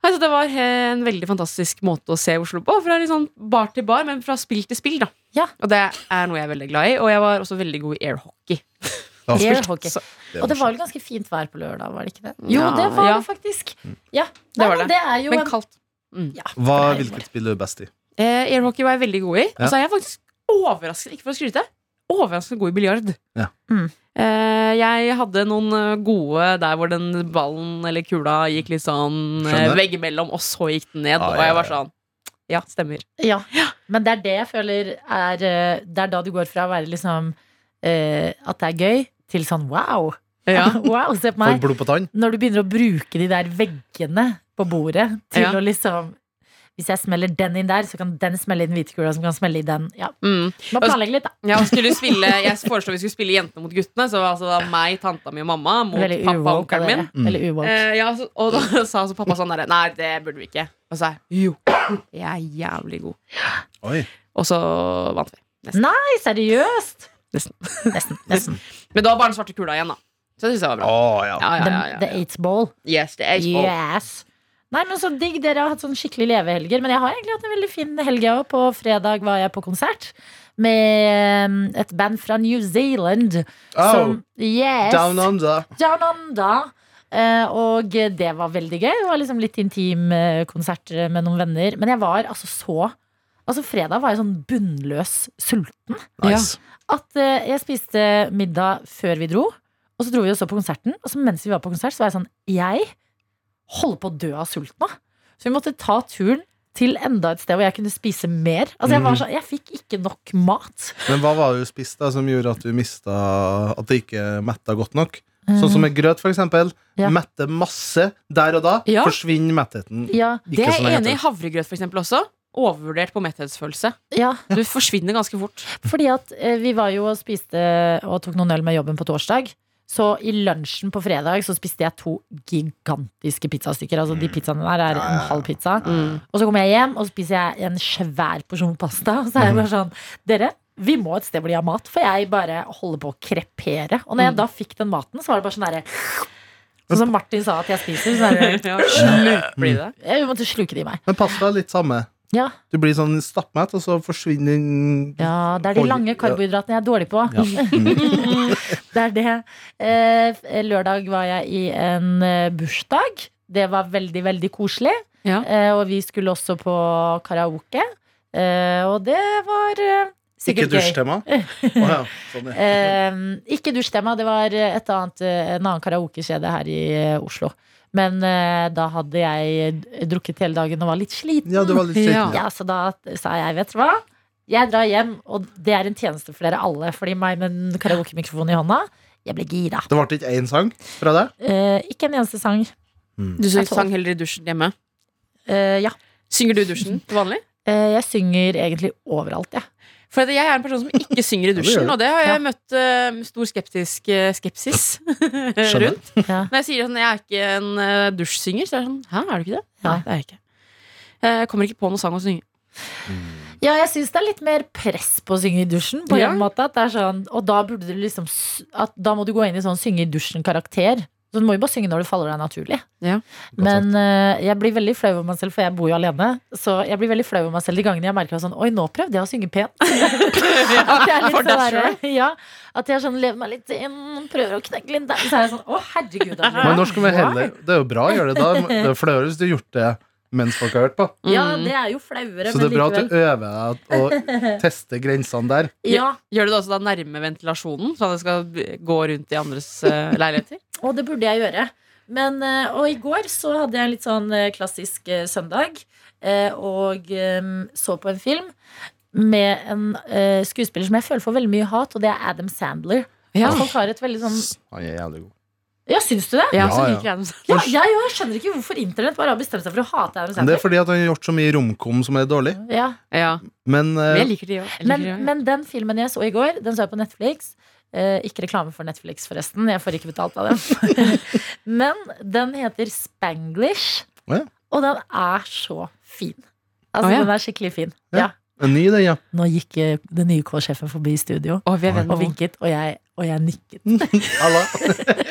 [SPEAKER 3] Nei, så det var eh, en veldig fantastisk måte å se Oslo på. Fra litt sånn bar til bar, men fra spill til spill, da.
[SPEAKER 2] Ja.
[SPEAKER 3] Og det er noe jeg er veldig glad i. Og jeg var også veldig god i airhockey.
[SPEAKER 5] Ja.
[SPEAKER 2] Air hockey.
[SPEAKER 3] Så-
[SPEAKER 5] Det
[SPEAKER 2] Og det
[SPEAKER 5] var
[SPEAKER 2] var vel ganske fint vær på lørdag, var det ikke det? Jo,
[SPEAKER 3] Ja.
[SPEAKER 2] det var
[SPEAKER 3] Ja.
[SPEAKER 2] det faktisk. Ja,
[SPEAKER 3] Det
[SPEAKER 2] Nei,
[SPEAKER 3] var
[SPEAKER 2] men
[SPEAKER 3] det.
[SPEAKER 2] det er jo
[SPEAKER 3] Men
[SPEAKER 2] en-
[SPEAKER 3] kaldt.
[SPEAKER 2] ja,
[SPEAKER 5] Hva,
[SPEAKER 2] det er jo
[SPEAKER 5] hvilket spill er du best i?
[SPEAKER 3] Eh, airhockey var jeg veldig god i.
[SPEAKER 5] Ja.
[SPEAKER 3] Og så er jeg faktisk overraskende, ikke for å skryte, overraskende god i biljard.
[SPEAKER 5] Ja.
[SPEAKER 2] Mm.
[SPEAKER 3] Eh, jeg hadde noen eh, gode der hvor den ballen eller kula gikk litt sånn eh,
[SPEAKER 5] Skjønner.
[SPEAKER 3] veggimellom, og så gikk den ned.
[SPEAKER 5] Ah,
[SPEAKER 3] Og
[SPEAKER 5] ja,
[SPEAKER 3] jeg var
[SPEAKER 5] ja.
[SPEAKER 3] sånn Ja, stemmer.
[SPEAKER 2] Ja, men det er det jeg føler er eh, Det er da du går fra å være liksom eh, At det er gøy, til sånn wow. wow, se på
[SPEAKER 5] Får
[SPEAKER 2] meg.
[SPEAKER 5] blod på tann?
[SPEAKER 2] Når du begynner å bruke de der veggene på bordet til
[SPEAKER 3] Ja.
[SPEAKER 2] å liksom Hvis jeg smeller den inn der, så kan den smelle i den hvite kula som kan smelle i den. Ja,
[SPEAKER 3] Mm.
[SPEAKER 2] Man planlegger litt, da.
[SPEAKER 3] Ja, og skulle spille, jeg foreslo vi skulle spille jentene mot guttene. Så var altså da meg, tanta mi og mamma mot
[SPEAKER 2] Veldig
[SPEAKER 3] pappa og
[SPEAKER 2] uwoke av
[SPEAKER 3] onkelen min.
[SPEAKER 2] dere. Veldig uwoke.
[SPEAKER 3] Eh, ja, så, og da sa altså pappa sånn derre Nei, det burde vi ikke. Og så sa jeg jo, jeg er jævlig god.
[SPEAKER 5] Oi.
[SPEAKER 3] Og så vant vi.
[SPEAKER 2] Nei, seriøst!
[SPEAKER 3] Nesten.
[SPEAKER 2] Nesten. nesten.
[SPEAKER 3] Men da var bare den svarte kula igjen, da. Så det syns jeg var
[SPEAKER 5] Å,
[SPEAKER 3] bra.
[SPEAKER 5] ja.
[SPEAKER 3] Ja, ja,
[SPEAKER 2] The,
[SPEAKER 3] ja, ja.
[SPEAKER 2] the eight ball.
[SPEAKER 3] Yes, det er baseball.
[SPEAKER 2] Yes. Nei, men så digg Dere har hatt sånn skikkelig levehelger. Men jeg har egentlig hatt en veldig fin helg. jeg også. På fredag var jeg på konsert med um, et band fra New Zealand.
[SPEAKER 5] Oh,
[SPEAKER 2] yes,
[SPEAKER 5] Down under.
[SPEAKER 2] Down Under. Eh, og det var veldig gøy. Det var liksom litt intim eh, konsert med noen venner. Men jeg var altså så Altså Fredag var jeg sånn bunnløs sulten
[SPEAKER 5] Nice.
[SPEAKER 2] at eh, jeg spiste middag før vi dro, og så dro vi og så på konserten. Og så mens vi var på konsert, så var jeg sånn Jeg holder på å dø av sult nå. Så vi måtte ta turen til enda et sted hvor jeg kunne spise mer. Altså Jeg var sånn, jeg fikk ikke nok mat.
[SPEAKER 5] Men hva var det du spiste da, som gjorde at du mista At det ikke metta godt nok? Sånn som med grøt, for eksempel.
[SPEAKER 2] Ja.
[SPEAKER 5] Mette masse der og da.
[SPEAKER 3] Ja.
[SPEAKER 5] Forsvinner mettheten.
[SPEAKER 2] Ja,
[SPEAKER 3] Det er
[SPEAKER 5] Ikke som
[SPEAKER 3] jeg enig
[SPEAKER 5] jeg
[SPEAKER 3] i.
[SPEAKER 5] heter.
[SPEAKER 3] Havregrøt, for eksempel, også. Overvurdert på metthetsfølelse.
[SPEAKER 2] ja.
[SPEAKER 3] Du forsvinner ganske fort.
[SPEAKER 2] Fordi at eh, vi var jo og spiste og tok noen øl med jobben på torsdag. Så i lunsjen på fredag så spiste jeg to gigantiske pizzastykker. Altså de pizzaene der er en halv pizza.
[SPEAKER 3] Mm.
[SPEAKER 2] Og så kommer jeg hjem og så spiser jeg en svær porsjon pasta. Og så
[SPEAKER 5] Mm.
[SPEAKER 2] er jeg bare sånn Dere, vi må et sted hvor de har mat, for jeg bare holder på å krepere. Og
[SPEAKER 5] Mm.
[SPEAKER 2] når jeg da fikk den maten, så var det bare sånn derre Sånn som Martin sa at jeg spiser. Så er det,
[SPEAKER 3] Ja, slutt blir det.
[SPEAKER 2] jeg måtte sluke det i meg.
[SPEAKER 5] Men pasta er litt samme.
[SPEAKER 2] Ja.
[SPEAKER 5] Du blir sånn stappmett, og så forsvinner den-
[SPEAKER 2] Ja, det er de
[SPEAKER 5] Oi,
[SPEAKER 2] lange
[SPEAKER 5] ja.
[SPEAKER 2] karbohydratene jeg er dårlig på. det er det. Eh, lørdag var jeg i en eh, bursdag. Det var veldig, veldig koselig.
[SPEAKER 3] Ja.
[SPEAKER 2] Eh, og vi skulle også på karaoke. Eh, og det var eh,
[SPEAKER 5] Ikke
[SPEAKER 2] sikkert gøy.
[SPEAKER 5] dusjtema. Å ja. Sånn, ja.
[SPEAKER 2] Eh, ikke dusjtema. Det var et annet, eh, en annen karaokekjede her i eh, Oslo. Men eh, da hadde jeg drukket hele dagen og var litt sliten.
[SPEAKER 5] ja, du var litt sliten. Ja.
[SPEAKER 2] Ja, så da sa jeg, vet du hva? Jeg drar hjem, og det er en tjeneste for dere alle. Fordi meg med en karaokemikrofon i hånda, jeg ble gira.
[SPEAKER 5] Det ble ikke én sang fra deg?
[SPEAKER 2] Eh, ikke en eneste sang.
[SPEAKER 3] Du
[SPEAKER 2] Jeg
[SPEAKER 3] sang heller i dusjen hjemme.
[SPEAKER 2] Eh, ja.
[SPEAKER 3] Synger du i dusjen til vanlig?
[SPEAKER 2] Eh, jeg synger egentlig overalt, jeg.
[SPEAKER 3] For at jeg er en person som ikke synger i
[SPEAKER 5] det
[SPEAKER 3] dusjen,
[SPEAKER 5] gjør du.
[SPEAKER 3] og det har jeg
[SPEAKER 2] Ja.
[SPEAKER 3] møtt eh, stor skeptisk eh, skepsis
[SPEAKER 5] Skjønner.
[SPEAKER 3] rundt.
[SPEAKER 2] Ja.
[SPEAKER 3] Når jeg sier sånn, jeg er ikke en eh, dusjsynger, så er det sånn Hæ, er du ikke det?
[SPEAKER 2] Nei.
[SPEAKER 3] Nei, det er jeg ikke. Eh, Jeg kommer ikke på noen sang å synge.
[SPEAKER 2] Ja, jeg syns det er litt mer press på å synge i dusjen. På
[SPEAKER 3] Ja.
[SPEAKER 2] en måte at det er sånn, Og da burde du liksom s- at Da må du gå inn i sånn synge i dusjen-karakter. Så du må jo bare synge når det faller deg naturlig.
[SPEAKER 3] Ja.
[SPEAKER 2] Men eh, jeg blir veldig flau over meg selv, for jeg bor jo alene. Så jeg blir veldig flau over meg selv de gangene jeg merker sånn Oi, nå prøvde jeg å synge pent. At jeg er litt
[SPEAKER 3] For
[SPEAKER 2] sånn
[SPEAKER 3] deg
[SPEAKER 2] derre- ja, at jeg sånn lever meg litt inn, prøver å knekke litt der. Så er jeg sånn, å herregud. Adelina.
[SPEAKER 5] Men når skal vi heller Det er jo bra å gjøre det da. Det er flauere hvis du har gjort det mens folk har hørt på.
[SPEAKER 2] Ja, det er jo flauere,
[SPEAKER 5] Så det
[SPEAKER 2] men
[SPEAKER 5] er bra at
[SPEAKER 2] likevel.
[SPEAKER 5] du øver deg og tester grensene der.
[SPEAKER 2] Ja,
[SPEAKER 3] Gjør du det også da nærme ventilasjonen, så det skal b- gå rundt i andres eh, leiligheter?
[SPEAKER 2] og det burde jeg gjøre. Men, eh, og i går så hadde jeg en litt sånn eh, klassisk eh, søndag, eh, og eh, så på en film med en eh, skuespiller som jeg føler får veldig mye hat, og det er Adam Sandler.
[SPEAKER 3] Ja.
[SPEAKER 2] Folk har et veldig sånn
[SPEAKER 5] Han er jævlig god.
[SPEAKER 2] Ja, syns du det?
[SPEAKER 3] Ja, så
[SPEAKER 5] Ja, ja.
[SPEAKER 3] liker jeg den.
[SPEAKER 2] Ja, jeg, jeg skjønner ikke hvorfor internett bare har bestemt seg for å hate Adam
[SPEAKER 5] Men det er
[SPEAKER 2] Sandler.
[SPEAKER 5] fordi at han har gjort så mye romkom som er dårlig.
[SPEAKER 2] Ja.
[SPEAKER 3] Ja.
[SPEAKER 5] Men
[SPEAKER 3] Men
[SPEAKER 5] eh,
[SPEAKER 3] jeg liker de òg.
[SPEAKER 2] men, men den filmen jeg så i går, den så jeg på Netflix. Eh, ikke reklame for Netflix, forresten. Jeg får ikke betalt av dem. men den heter Spanglish,
[SPEAKER 5] Å ja.
[SPEAKER 2] og den er så fin. Altså,
[SPEAKER 3] Å ja.
[SPEAKER 2] den er skikkelig fin.
[SPEAKER 5] Ja.
[SPEAKER 2] Ja.
[SPEAKER 5] en ny, den, ja.
[SPEAKER 2] Nå gikk eh, den nye K-sjefen forbi studio
[SPEAKER 3] Å, vi er venner
[SPEAKER 2] og
[SPEAKER 3] nå.
[SPEAKER 2] vinket, og jeg, og jeg nikket.
[SPEAKER 5] Halla.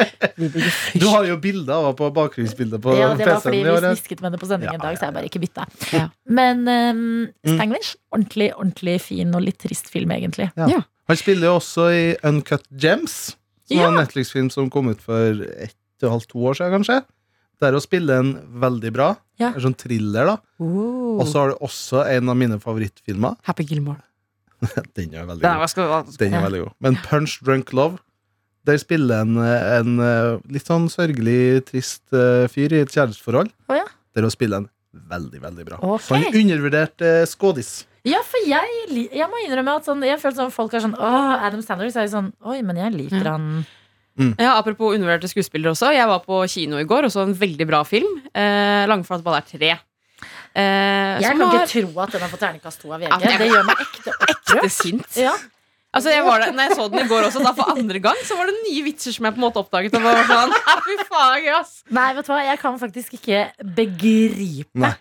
[SPEAKER 5] Du har jo bilder av henne på bakgrunnsbildet på
[SPEAKER 2] Ja, det var fordi
[SPEAKER 5] PC-en i
[SPEAKER 2] vi
[SPEAKER 5] år.
[SPEAKER 2] snisket med det på sending
[SPEAKER 5] Ja, Mm.
[SPEAKER 2] en dag, så jeg bare ikke bytta.
[SPEAKER 3] Ja.
[SPEAKER 2] Men eh, Spanglish, ordentlig, ordentlig fin og litt trist film, egentlig.
[SPEAKER 5] Han spiller jo også i Uncut Gems. Som var en Netflix-film som kom ut for ett og et halvt, to år siden, kanskje. Der hun spiller en veldig bra.
[SPEAKER 2] Ja. Oh.
[SPEAKER 5] En sånn thriller, da. Og
[SPEAKER 3] Oh.
[SPEAKER 5] så har du også en av mine favorittfilmer.
[SPEAKER 3] Happy Gilmore.
[SPEAKER 5] Den er veldig
[SPEAKER 3] Den er,
[SPEAKER 5] god.
[SPEAKER 3] hva skal, hva skal,
[SPEAKER 5] Den er veldig god. Men Punch Drunk Love der spiller en, en eh, litt sånn sørgelig, trist eh, fyr i et kjæresteforhold.
[SPEAKER 2] Å, ja.
[SPEAKER 5] Der hun spiller en veldig, veldig bra.
[SPEAKER 2] Ok.
[SPEAKER 5] Så en undervurdert eh, skådis.
[SPEAKER 2] Ja, for jeg, li- jeg må innrømme at sånn, jeg føler sånn folk er sånn Åh, Adam Sandler. Så er jeg sånn Oi, men jeg liker
[SPEAKER 3] Ja.
[SPEAKER 2] han.
[SPEAKER 3] ja, apropos undervurderte skuespillere også. Jeg var på kino i går og så en veldig bra film. Eh, Langflat ball er tre. Eh,
[SPEAKER 2] Jeg
[SPEAKER 3] som
[SPEAKER 2] kan
[SPEAKER 3] var
[SPEAKER 2] ikke tro at den har fått terningkast to av VG.
[SPEAKER 3] Ah, Ja, det-
[SPEAKER 2] Det gjør meg ekte
[SPEAKER 3] ekte
[SPEAKER 2] opprørt.
[SPEAKER 3] sint.
[SPEAKER 2] Ja.
[SPEAKER 3] Altså, jeg var der, når jeg så den i går også, da for andre gang, så var det nye vitser som jeg på en måte oppdaget. Og var sånn, fy faen, gøy, ass.
[SPEAKER 2] Nei, vet du hva, jeg kan faktisk ikke begripe.
[SPEAKER 5] Nei.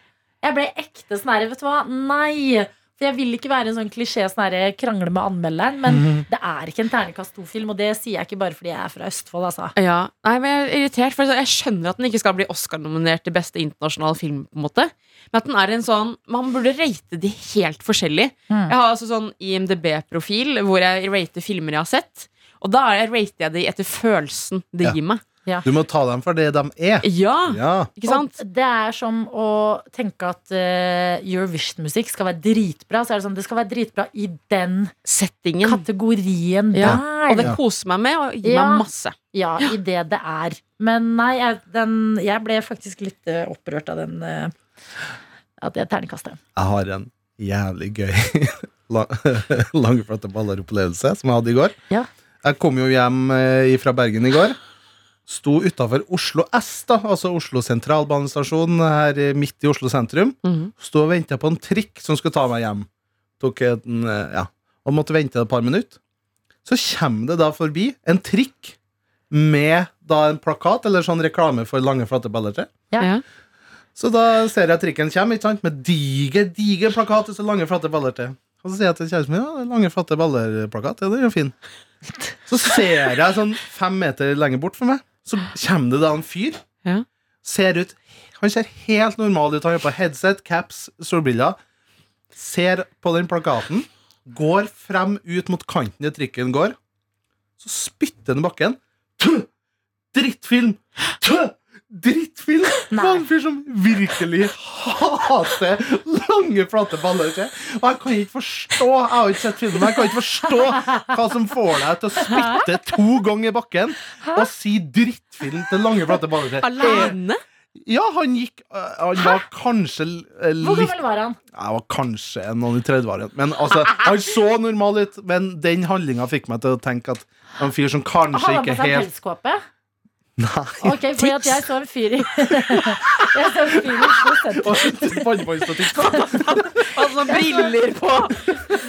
[SPEAKER 2] Jeg ble ekte sånn herre, vet du hva. Nei! For jeg vil ikke være en sånn klisjé sånn herre krangle med anmelderen, men det er ikke en terningkast to-film, og det sier jeg ikke bare fordi jeg er fra Østfold, altså.
[SPEAKER 3] Ja, nei, men Jeg er irritert, for jeg skjønner at den ikke skal bli Oscar-nominert til beste internasjonale film. på en måte Men at den er en sånn Man burde rate de helt forskjellig.
[SPEAKER 2] Mm.
[SPEAKER 3] Jeg har altså sånn IMDb-profil hvor jeg rater filmer jeg har sett. Og da er- rater jeg de etter følelsen det
[SPEAKER 5] Ja.
[SPEAKER 3] gir meg.
[SPEAKER 5] Du må ta dem for det de er.
[SPEAKER 3] Ja,
[SPEAKER 5] Ja.
[SPEAKER 3] ikke sant?
[SPEAKER 2] Og det er som å tenke at eh, Eurovision-musikk skal være dritbra. Så er det sånn, det skal være dritbra i den
[SPEAKER 3] Settingen.
[SPEAKER 2] kategorien
[SPEAKER 3] Ja,
[SPEAKER 2] der.
[SPEAKER 3] Og det
[SPEAKER 5] Ja.
[SPEAKER 3] koser meg med, og gir
[SPEAKER 2] Ja.
[SPEAKER 3] meg masse.
[SPEAKER 2] Ja, i det det er. Men nei, jeg, den, jeg ble faktisk litt eh, opprørt av den eh, At det terningkastet.
[SPEAKER 5] Jeg har en jævlig gøy lang- langflate baller-opplevelse som jeg hadde i går.
[SPEAKER 2] Ja.
[SPEAKER 5] Jeg kom jo hjem eh, fra Bergen i går. Sto utafor Oslo S, da, altså Oslo sentralbanestasjon her eh, midt i Oslo sentrum.
[SPEAKER 3] Mhm.
[SPEAKER 5] Sto og venta på en trikk som skulle ta meg hjem. Tok en, eh, ja, og måtte vente et par minutter. Så kommer det da forbi en trikk med da en plakat eller sånn reklame for lange, flate baller til.
[SPEAKER 2] Ja.
[SPEAKER 3] Ja.
[SPEAKER 5] Så da ser jeg trikken kommer, ikke sant? med diger, diger plakat og så lange, flate baller til. Og så sier jeg til kjæresten min ja, det er lange, flate baller-plakat. Ja, den er jo fin. Så ser jeg sånn fem meter lenger bort for meg, så kommer det da en fyr.
[SPEAKER 3] Ja.
[SPEAKER 5] Ser ut Han ser helt normal ut. Han har på headset, caps, solbriller. Ser på den plakaten, går frem ut mot kanten der trikken går. Så spytter han i bakken. Tø! Drittfilm! Tø! Drittfilm! Det var en fyr som virkelig hater lange, flate baller. ikke? Og jeg kan ikke forstå Jeg har ikke sett filmen, men jeg kan ikke forstå hva som får deg til å spytte to ganger i bakken og si drittfilm til lange, flate baller. ikke?
[SPEAKER 3] Alene?
[SPEAKER 5] Ja, han gikk øh, Han var kanskje øh,
[SPEAKER 2] Hvor
[SPEAKER 5] litt
[SPEAKER 2] gammel var han?
[SPEAKER 5] Jeg var kanskje noen i 30-årene. Men altså, han så normal ut, men den handlinga fikk meg til å tenke at en fyr som kanskje
[SPEAKER 2] Hadde han
[SPEAKER 5] ikke
[SPEAKER 2] på seg
[SPEAKER 5] helt
[SPEAKER 2] pelskåpe?
[SPEAKER 5] Nei.
[SPEAKER 2] Ok, fordi at jeg så en fyr i Jeg så en fyr i Oslo sentrum,
[SPEAKER 5] Og vannbåndstatikk.
[SPEAKER 3] Og sånn briller på!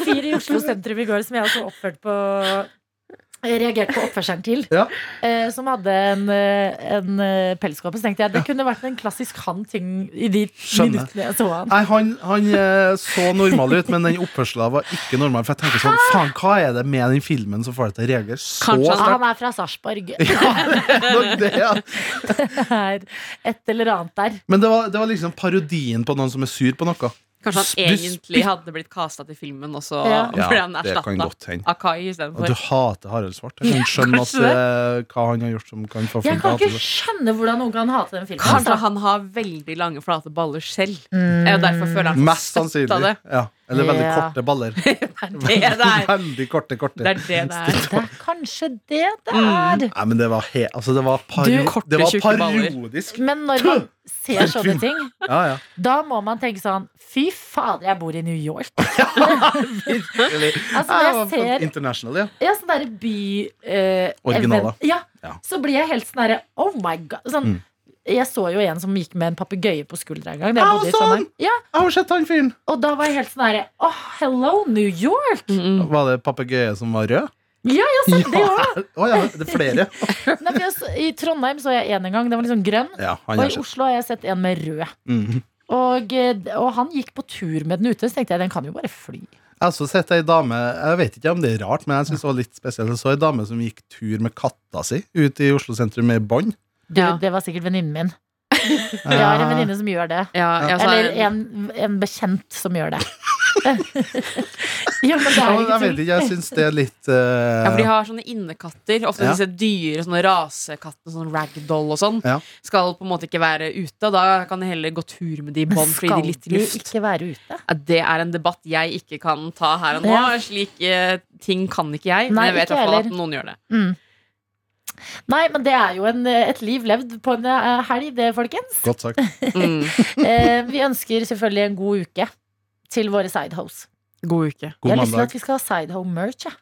[SPEAKER 2] fyr i Oslo sentrum i går som jeg også oppførte på eh, Reagerte på oppførselen til.
[SPEAKER 5] Ja.
[SPEAKER 2] Eh, som hadde en, eh, en eh, pelskåpe. Så tenkte jeg det kunne vært en klassisk han-ting i de
[SPEAKER 5] Skjønner.
[SPEAKER 2] minuttene jeg så han.
[SPEAKER 5] Nei, han, han eh, så normal ut, men den oppførselen var ikke normal. For jeg tenker sånn, faen, hva er det med den filmen som får deg til å reagere så
[SPEAKER 3] Kanskje
[SPEAKER 2] Ja,
[SPEAKER 5] sterkt?
[SPEAKER 2] han er fra Sarpsborg.
[SPEAKER 5] Ja, det er nok det, ja.
[SPEAKER 2] Det er et eller annet der.
[SPEAKER 5] Men det var, det var liksom parodien på noen som er sur på noe.
[SPEAKER 3] Kanskje
[SPEAKER 5] Du
[SPEAKER 3] han
[SPEAKER 5] spytt-
[SPEAKER 3] egentlig hadde blitt kasta til filmen, og så
[SPEAKER 2] Ja.
[SPEAKER 3] ble han
[SPEAKER 5] det kan
[SPEAKER 3] erstatta
[SPEAKER 5] godt hende.
[SPEAKER 3] av Kai
[SPEAKER 5] Og du
[SPEAKER 3] istedenfor.
[SPEAKER 5] hater Harald Svart. Jeg kan skjønne at,
[SPEAKER 3] kanskje
[SPEAKER 5] eh, hva han har gjort som kan få
[SPEAKER 2] Jeg
[SPEAKER 5] folk til å
[SPEAKER 2] kan
[SPEAKER 5] hate
[SPEAKER 2] ikke
[SPEAKER 5] det.
[SPEAKER 2] skjønne hvordan noen kan hate den filmen.
[SPEAKER 3] Kanskje
[SPEAKER 2] altså.
[SPEAKER 3] han har veldig lange, flate baller selv. Eh, Og derfor føler han
[SPEAKER 5] Mest
[SPEAKER 3] seg støtt av
[SPEAKER 5] sannsynlig.
[SPEAKER 3] det.
[SPEAKER 5] Ja. Eller veldig
[SPEAKER 2] Ja.
[SPEAKER 5] korte baller.
[SPEAKER 3] Det er det er.
[SPEAKER 5] Veldig korte, korte.
[SPEAKER 3] Det er det det er.
[SPEAKER 2] Det er kanskje det det er.
[SPEAKER 5] Nei, men det var, he altså, det var,
[SPEAKER 3] Du-
[SPEAKER 5] paro
[SPEAKER 3] Korte,
[SPEAKER 5] det var
[SPEAKER 3] tjukke baller.
[SPEAKER 5] parodisk.
[SPEAKER 2] Men når man ser sånne ting,
[SPEAKER 5] Ja, ja.
[SPEAKER 2] da må man tenke sånn Fy fader, jeg bor i New York.
[SPEAKER 5] Virkelig.
[SPEAKER 2] Altså,
[SPEAKER 5] Ja,
[SPEAKER 2] når jeg
[SPEAKER 5] det var
[SPEAKER 2] ser
[SPEAKER 5] International, ja.
[SPEAKER 2] ja, sånne derre by... eh,
[SPEAKER 5] Originaler.
[SPEAKER 2] event- Ja,
[SPEAKER 5] Ja.
[SPEAKER 2] så blir jeg helt sånn derre Oh my god. Sånn,
[SPEAKER 5] Mm.
[SPEAKER 2] Jeg så jo en som gikk med en papegøye på skuldra en gang. Da
[SPEAKER 5] Ja,
[SPEAKER 2] jeg bodde i
[SPEAKER 5] sånn!
[SPEAKER 2] Trondheim. ja,
[SPEAKER 5] Jeg har sett han fyren.
[SPEAKER 2] og da var jeg helt sånn herre Oh, hello, New York!
[SPEAKER 3] Mm, mm.
[SPEAKER 5] Var det papegøye som var rød?
[SPEAKER 2] Ja, jeg har sett det òg!
[SPEAKER 5] Å ja, det er flere.
[SPEAKER 2] Nei, for jeg, så- I Trondheim så jeg en en gang. Den var liksom grønn.
[SPEAKER 5] Ja,
[SPEAKER 2] Og
[SPEAKER 5] han har
[SPEAKER 2] i
[SPEAKER 5] sett.
[SPEAKER 2] Oslo har jeg sett en med rød.
[SPEAKER 5] Mhm.
[SPEAKER 2] Og, eh, og han gikk på tur med den ute, så tenkte jeg den kan jo bare fly.
[SPEAKER 5] Jeg har også sett ei dame Jeg vet ikke om det er rart, men jeg synes det var litt spesielt. Jeg så ei dame som gikk tur med katta si ut i Oslo sentrum med bånd.
[SPEAKER 2] Du,
[SPEAKER 3] Ja.
[SPEAKER 2] Det var sikkert venninnen min. Jeg har
[SPEAKER 5] Ah.
[SPEAKER 2] en venninne som gjør det.
[SPEAKER 3] Ja, jeg,
[SPEAKER 2] Eller
[SPEAKER 3] altså,
[SPEAKER 2] en, en bekjent som gjør det. Ja, men det
[SPEAKER 5] Ja,
[SPEAKER 2] er
[SPEAKER 5] men
[SPEAKER 2] ikke
[SPEAKER 5] jeg vet
[SPEAKER 2] tull.
[SPEAKER 5] ikke, jeg syns det er litt eh,
[SPEAKER 3] Ja, for de har sånne innekatter. Ofte
[SPEAKER 5] Ja.
[SPEAKER 3] disse dyre sånne rasekattene, sånn ragdoll og sånn.
[SPEAKER 5] Ja.
[SPEAKER 3] Skal på en måte ikke være ute. og Da kan jeg heller gå tur med de i bånd fordi de
[SPEAKER 2] Skal
[SPEAKER 3] er litt i
[SPEAKER 2] de
[SPEAKER 3] luft.
[SPEAKER 2] ikke være ute?
[SPEAKER 3] Ja, det er en debatt jeg ikke kan ta her og nå.
[SPEAKER 2] Ja.
[SPEAKER 3] Slike ting kan ikke jeg.
[SPEAKER 2] Nei,
[SPEAKER 3] men jeg vet
[SPEAKER 2] ikke
[SPEAKER 3] i hvert fall at
[SPEAKER 2] heller.
[SPEAKER 3] noen gjør det.
[SPEAKER 2] Mm. Nei, men det er jo en, et liv levd på en eh, helg, det, folkens.
[SPEAKER 5] Godt sagt.
[SPEAKER 3] Mm.
[SPEAKER 2] Eh, vi ønsker selvfølgelig en god uke til våre sidehoes.
[SPEAKER 3] God uke.
[SPEAKER 2] Jeg
[SPEAKER 5] God
[SPEAKER 2] har lyst til at
[SPEAKER 5] mandag.
[SPEAKER 2] vi skal ha sidehoe-merch. jeg.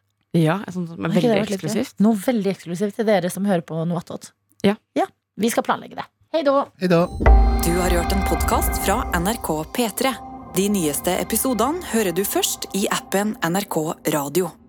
[SPEAKER 3] Ja, sånn, men
[SPEAKER 2] Har ikke det
[SPEAKER 3] veldig
[SPEAKER 2] vært litt gøy?
[SPEAKER 3] eksklusivt.
[SPEAKER 2] Noe veldig eksklusivt til dere som hører på noe attåt.
[SPEAKER 3] Ja.
[SPEAKER 2] Vi skal planlegge det. Hei da.
[SPEAKER 5] Hei da.
[SPEAKER 1] Du har hørt en podkast fra NRK P3. De nyeste episodene hører du først i appen NRK Radio.